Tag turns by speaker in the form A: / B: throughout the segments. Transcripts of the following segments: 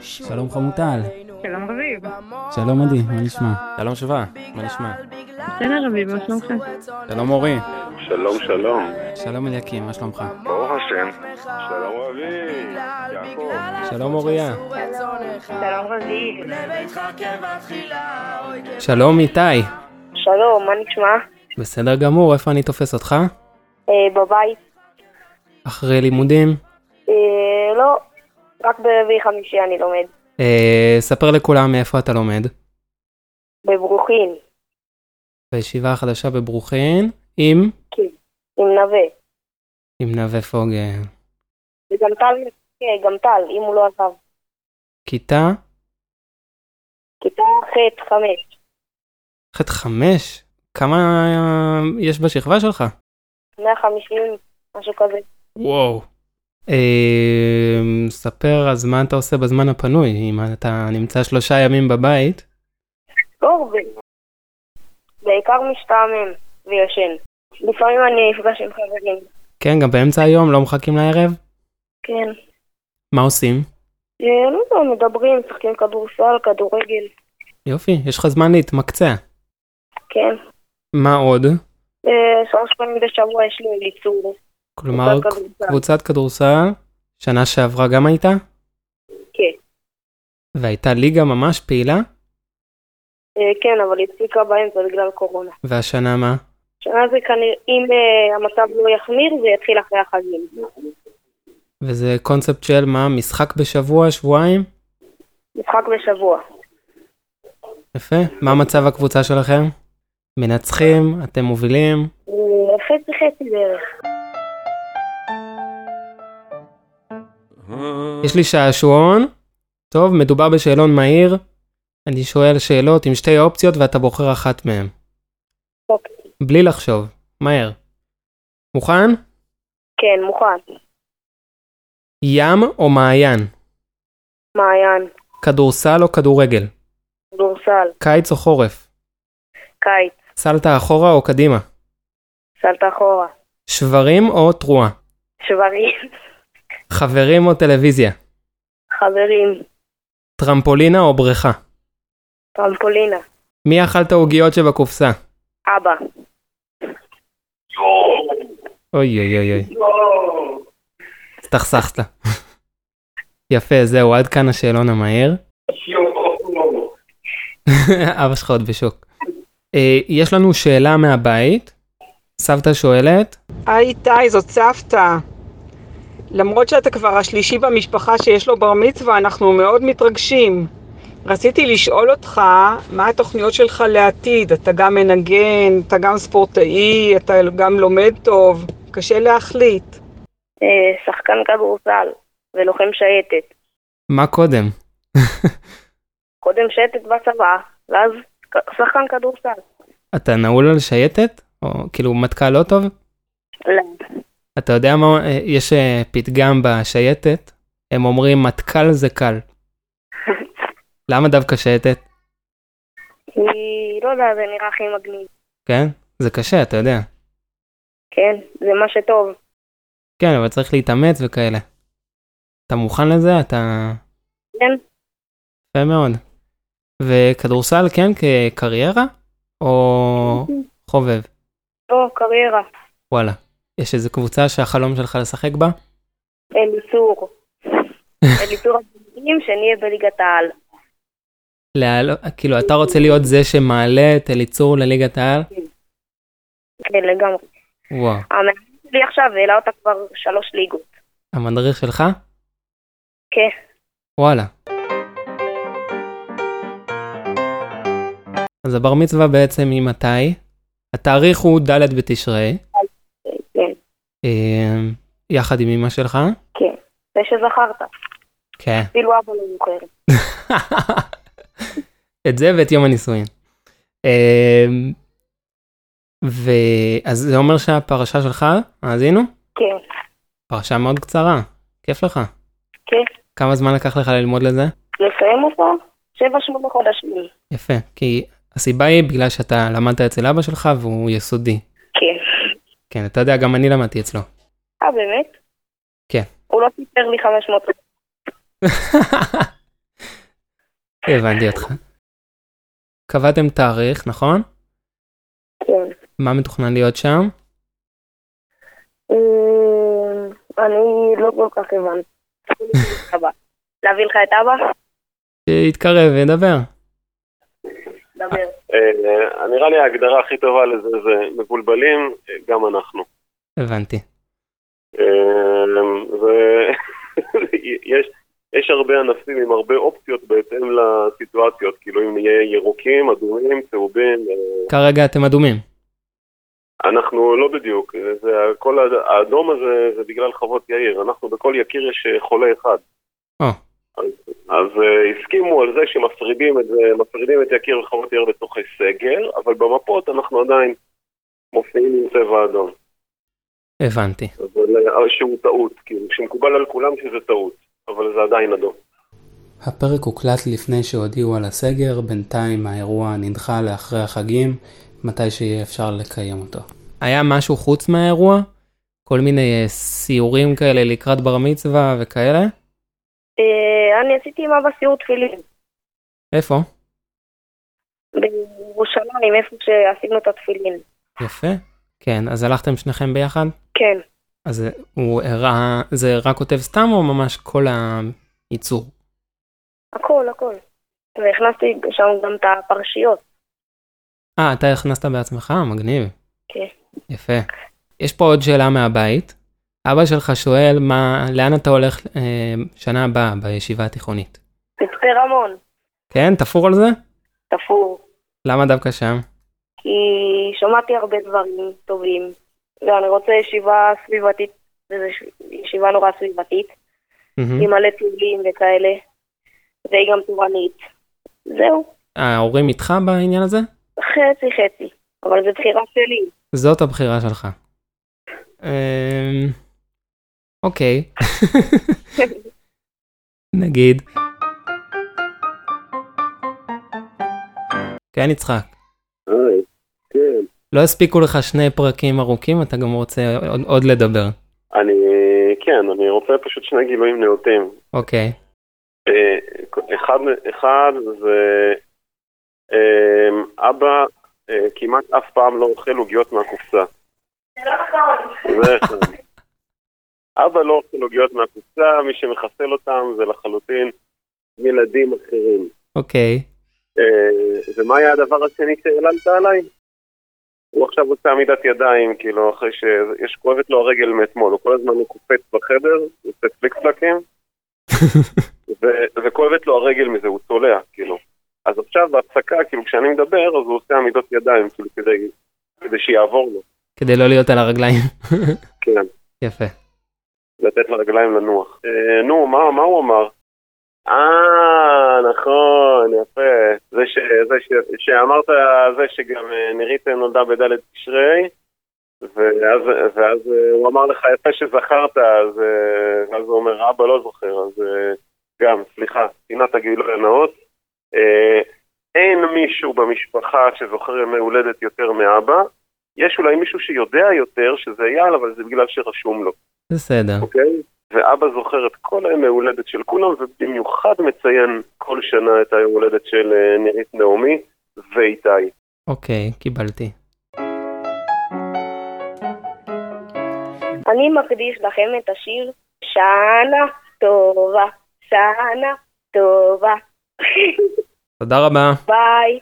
A: שלום חמוטל.
B: שלום רביב.
A: שלום עדי, מה נשמע?
C: שלום שווה, מה נשמע?
B: בסדר רביב, מה שלומך?
C: שלום אורי.
D: שלום, שלום.
C: שלום אליקים, מה שלומך?
D: ברוך השם. שלום רביב. יעקב.
C: שלום אוריה.
E: שלום רביעי.
C: שלום איתי.
E: שלום, מה נשמע?
C: בסדר גמור, איפה אני תופס אותך?
E: אה, בבית?
C: אחרי לימודים?
E: אה, לא, רק ברביעי חמישי אני לומד.
C: אה, ספר לכולם מאיפה אתה לומד.
E: בברוכין,
C: בישיבה החדשה בברוכין, עם?
E: עם נווה.
C: עם נווה פוגל.
E: וגם טל, אה, גם טל, אם הוא לא עזב.
C: כיתה?
E: כיתה ח' חמש.
C: ח' חמש? כמה אה, יש בשכבה שלך?
E: 150, משהו כזה.
C: וואו. אה, ספר אז מה אתה עושה בזמן הפנוי, אם אתה נמצא שלושה ימים בבית.
E: לא הרבה. בעיקר משתעמם וישן. לפעמים אני נפגש עם חברים.
C: כן, גם באמצע היום, לא מחכים לערב?
E: כן.
C: מה עושים?
E: אה, לא יודע, מדברים, משחקים כדורסל, כדורגל.
C: יופי, יש לך זמן להתמקצע.
E: כן.
C: מה עוד?
E: אה, שלוש פעמים בשבוע יש לי ליצור.
C: כלומר,
E: קבוצת כדורסל.
C: קבוצת כדורסל, שנה שעברה גם הייתה?
E: כן.
C: והייתה ליגה ממש פעילה,
E: אה, כן, אבל היא הפסיקה באמצע בגלל קורונה.
C: והשנה מה?
E: שנה זה כנראה, אם אה, המצב לא יחמיר, זה יתחיל אחרי החגים.
C: וזה קונספט של מה, משחק בשבוע, שבועיים?
E: משחק בשבוע.
C: יפה. מה מצב הקבוצה שלכם? מנצחים, אתם מובילים.
E: אה, חצי חצי בערך.
C: יש לי שעשועון. טוב, מדובר בשאלון מהיר. אני שואל שאלות עם שתי אופציות ואתה בוחר אחת מהן.
E: אוקיי.
C: בלי לחשוב, מהר. מוכן?
E: כן, מוכן.
C: ים או מעיין?
E: מעיין,
C: כדורסל או כדורגל?
E: דורסל,
C: קיץ או חורף?
E: קיץ,
C: סלטה אחורה או קדימה?
E: סלט אחורה,
C: שברים או תרועה?
E: שברים,
C: חברים או טלוויזיה?
E: חברים,
C: טרמפולינה או בריכה?
E: טרמפולינה,
C: מי אכל את העוגיות שבקופסה?
E: אבא.
C: אוי אוי אוי אוי. הסתכסכת. יפה, זהו, עד כאן השאלון המהיר. אבא שלך עוד בשוק. אה, יש לנו שאלה מהבית. סבתא שואלת,
F: היי איתי, זאת סבתא. למרות שאתה כבר השלישי במשפחה שיש לו בר מצווה, אנחנו מאוד מתרגשים. רציתי לשאול אותך, מה התוכניות שלך לעתיד? אתה גם מנגן, אתה גם ספורטאי, אתה גם לומד טוב, קשה להחליט.
E: אה, שחקן כדורסל ולוחם שייטת.
C: מה קודם?
E: קודם שייטת בצבא, ואז ק- שחקן כדורסל.
C: אתה נעול על שייטת? או כאילו מטכ"ל לא טוב?
E: לא.
C: אתה יודע מה, אה, יש אה, פתגם בשייטת, הם אומרים מטכ"ל זה קל. למה דווקא שייטת?
E: היא, לא יודע, זה נראה הכי מגניב.
C: כן? זה קשה, אתה יודע.
E: כן, זה מה שטוב.
C: כן, אבל צריך להתאמץ וכאלה. אתה מוכן לזה? אתה...
E: כן,
C: יפה מאוד. וכדורסל כן כקריירה? או חובב?
E: לא, קריירה.
C: וואלה. יש איזה קבוצה שהחלום שלך לשחק בה?
E: אליצור. אליצור הבנים, שנהיה בליגת העל.
C: להעל... כאילו, אתה רוצה להיות זה שמעלה את אליצור לליגת העל?
E: כן, לגמרי.
C: וואו.
E: המאמן שלי עכשיו העלה אותה כבר שלוש ליגות.
C: המדריך שלך?
E: כן.
C: וואלה. אז הבר מצווה בעצם היא מתי? התאריך הוא ד' בתשרי,
E: כן,
C: אה, יחד עם אמא שלך.
E: כן. זה שזכרת.
C: כן.
E: אפילו אבא לא זוכר.
C: את זה ואת יום הנישואין. אמ, ו- אז זה אומר שהפרשה שלך, האזינו?
E: כן.
C: פרשה מאוד קצרה, כיף לך.
E: כן.
C: כמה זמן לקח לך ללמוד לזה?
E: לסיים אותו? שבע שמונה חודשים.
C: יפה, כי הסיבה היא בגלל שאתה למדת אצל אבא שלך והוא יסודי.
E: כן.
C: כן, אתה יודע, גם אני למדתי אצלו.
E: אה, באמת?
C: כן.
E: הוא לא סיפר לי 500
C: חמש הבנתי אותך. קבעתם תאריך, נכון?
E: כן.
C: מה מתוכנן להיות שם?
E: אמ, אני לא כל כך הבנתי. אבא. להביא לך את אבא?
C: שיתקרב וידבר.
E: דבר.
G: אה, נראה לי ההגדרה הכי טובה לזה זה מבולבלים, אה, גם אנחנו.
C: הבנתי.
G: ויש יש הרבה ענפים עם הרבה אופציות בהתאם לסיטואציות, כאילו אם נהיה ירוקים, אדומים, צהובים, אה,
C: כרגע אתם אדומים.
G: אנחנו לא בדיוק, אה, זה, כל האד- האדום הזה זה בגלל חוות יאיר, אנחנו בכל יקיר יש אה, חולה אחד.
C: אה.
G: אז, אז אה, הסכימו על זה שמפרידים את זה, מפרידים את יקיר וחוות יאיר בתוכי סגר, אבל במפות אנחנו עדיין מופיעים עם צבע אדום.
C: הבנתי.
G: אבל אה, שהוא טעות, כאילו, שמקובל על כולם שזה טעות, אבל זה עדיין אדום.
A: הפרק הוקלט לפני שהודיעו על הסגר, בינתיים האירוע נדחה לאחרי החגים, מתי שיהיה אפשר לקיים אותו.
C: היה משהו חוץ מהאירוע? כל מיני אה, סיורים כאלה לקראת בר מצווה וכאלה?
E: אה, אני עשיתי עם אבא סיור תפילין.
C: איפה?
E: בירושלים, איפה שעשינו את התפילין.
C: יפה. כן, אז הלכתם שניכם ביחד?
E: כן.
C: אז זה- הוא הראה, זה רק כותב סתם או ממש כל הייצור?
E: הכל, הכל. והכנסתי שם גם את הפרשיות.
C: אה, אתה הכנסת בעצמך? מגניב.
E: כן.
C: יפה. יש פה עוד שאלה מהבית. אבא שלך שואל מה, לאן אתה הולך אה, שנה הבאה בישיבה התיכונית.
E: מצפה רמון,
C: כן, תפור על זה?
E: תפור.
C: למה דווקא שם?
E: כי שמעתי הרבה דברים טובים, ואני רוצה ישיבה סביבתית, וזו ש- ישיבה נורא סביבתית,
C: מהמם.
E: עם מלא טיולים וכאלה, והיא גם תורנית. זהו,
C: ההורים איתך בעניין הזה?
E: חצי חצי, אבל זו בחירה שלי.
C: זאת הבחירה שלך. אמ, אוקיי. נגיד. כן, יצחק.
G: כן.
C: לא הספיקו לך שני פרקים ארוכים, אתה גם רוצה עוד, עוד לדבר.
G: אני, כן, אני רוצה פשוט שני גילויים נאותים.
C: אוקיי.
G: אה, אחד, אחד זה אה, אבא אה, כמעט אף פעם לא אוכל עוגיות מהקופסה. זה אחד. אבא לא אוכל עוגיות מהקופסה, מי שמחסל אותם זה לחלוטין ילדים אחרים.
C: אוקיי.
G: אה, ומה היה הדבר השני שהעללת עליי? הוא עכשיו עושה עמידת ידיים, כאילו, אחרי שיש, כואבת לו הרגל מאתמול, הוא כל הזמן הוא קופץ בחדר, הוא עושה פליקסלקים, ו- וכואבת לו הרגל מזה, הוא צולע, כאילו. אז עכשיו בהפסקה, כאילו, כשאני מדבר, אז הוא עושה עמידות ידיים, כאילו, כדי, כדי שיעבור לו,
C: כדי לא להיות על הרגליים.
G: כן,
C: יפה.
G: לתת לרגליים לנוח. אה, נו, מה, מה הוא אמר? אה, נכון, יפה. זה, ש, זה ש, שאמרת, זה שגם אה, נירית נולדה בד' תשרי, ואז, ואז אה, הוא אמר לך יפה שזכרת, אז, אה, אז הוא אומר, אבא לא זוכר, אז אה, גם, סליחה, פינת הגילוי הנאות. אה, אין מישהו במשפחה שזוכר ימי הולדת יותר מאבא. יש אולי מישהו שיודע יותר שזה אייל, אבל זה בגלל שרשום לו.
C: בסדר.
G: אוקיי? ואבא זוכר את כל הימי הולדת של כולם, ובמיוחד מציין כל שנה את היום הולדת של אה, נירית נעמי ואיתי.
C: אוקיי, קיבלתי.
E: אני מקדיש לכם את השיר שנה טובה, שנה טובה.
C: תודה רבה.
E: ביי.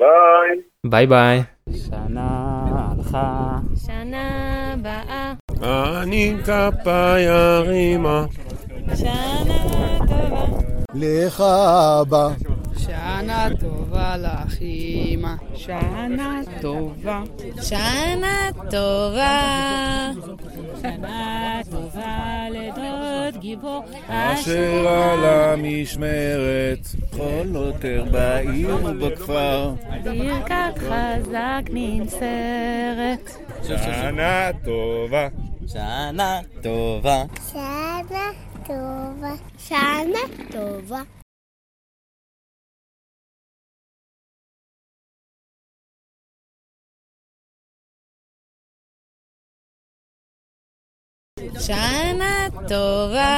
G: ביי!
C: ביי ביי.
A: שנה הלכה.
H: שנה הבאה.
D: אני כפיי הרימה.
H: שנה טובה.
I: לך אבא,
B: שנה טובה לך, אמא. שנה טובה.
H: שנה טובה. שנה טובה לדוד גיבור.
D: אשר על המשמרת, כל עותר בעיר ובכפר.
H: ברכת חזק נמסרת.
D: שנה טובה.
I: שנה טובה.
H: שנה טובה. שנה טובה. שנה טובה.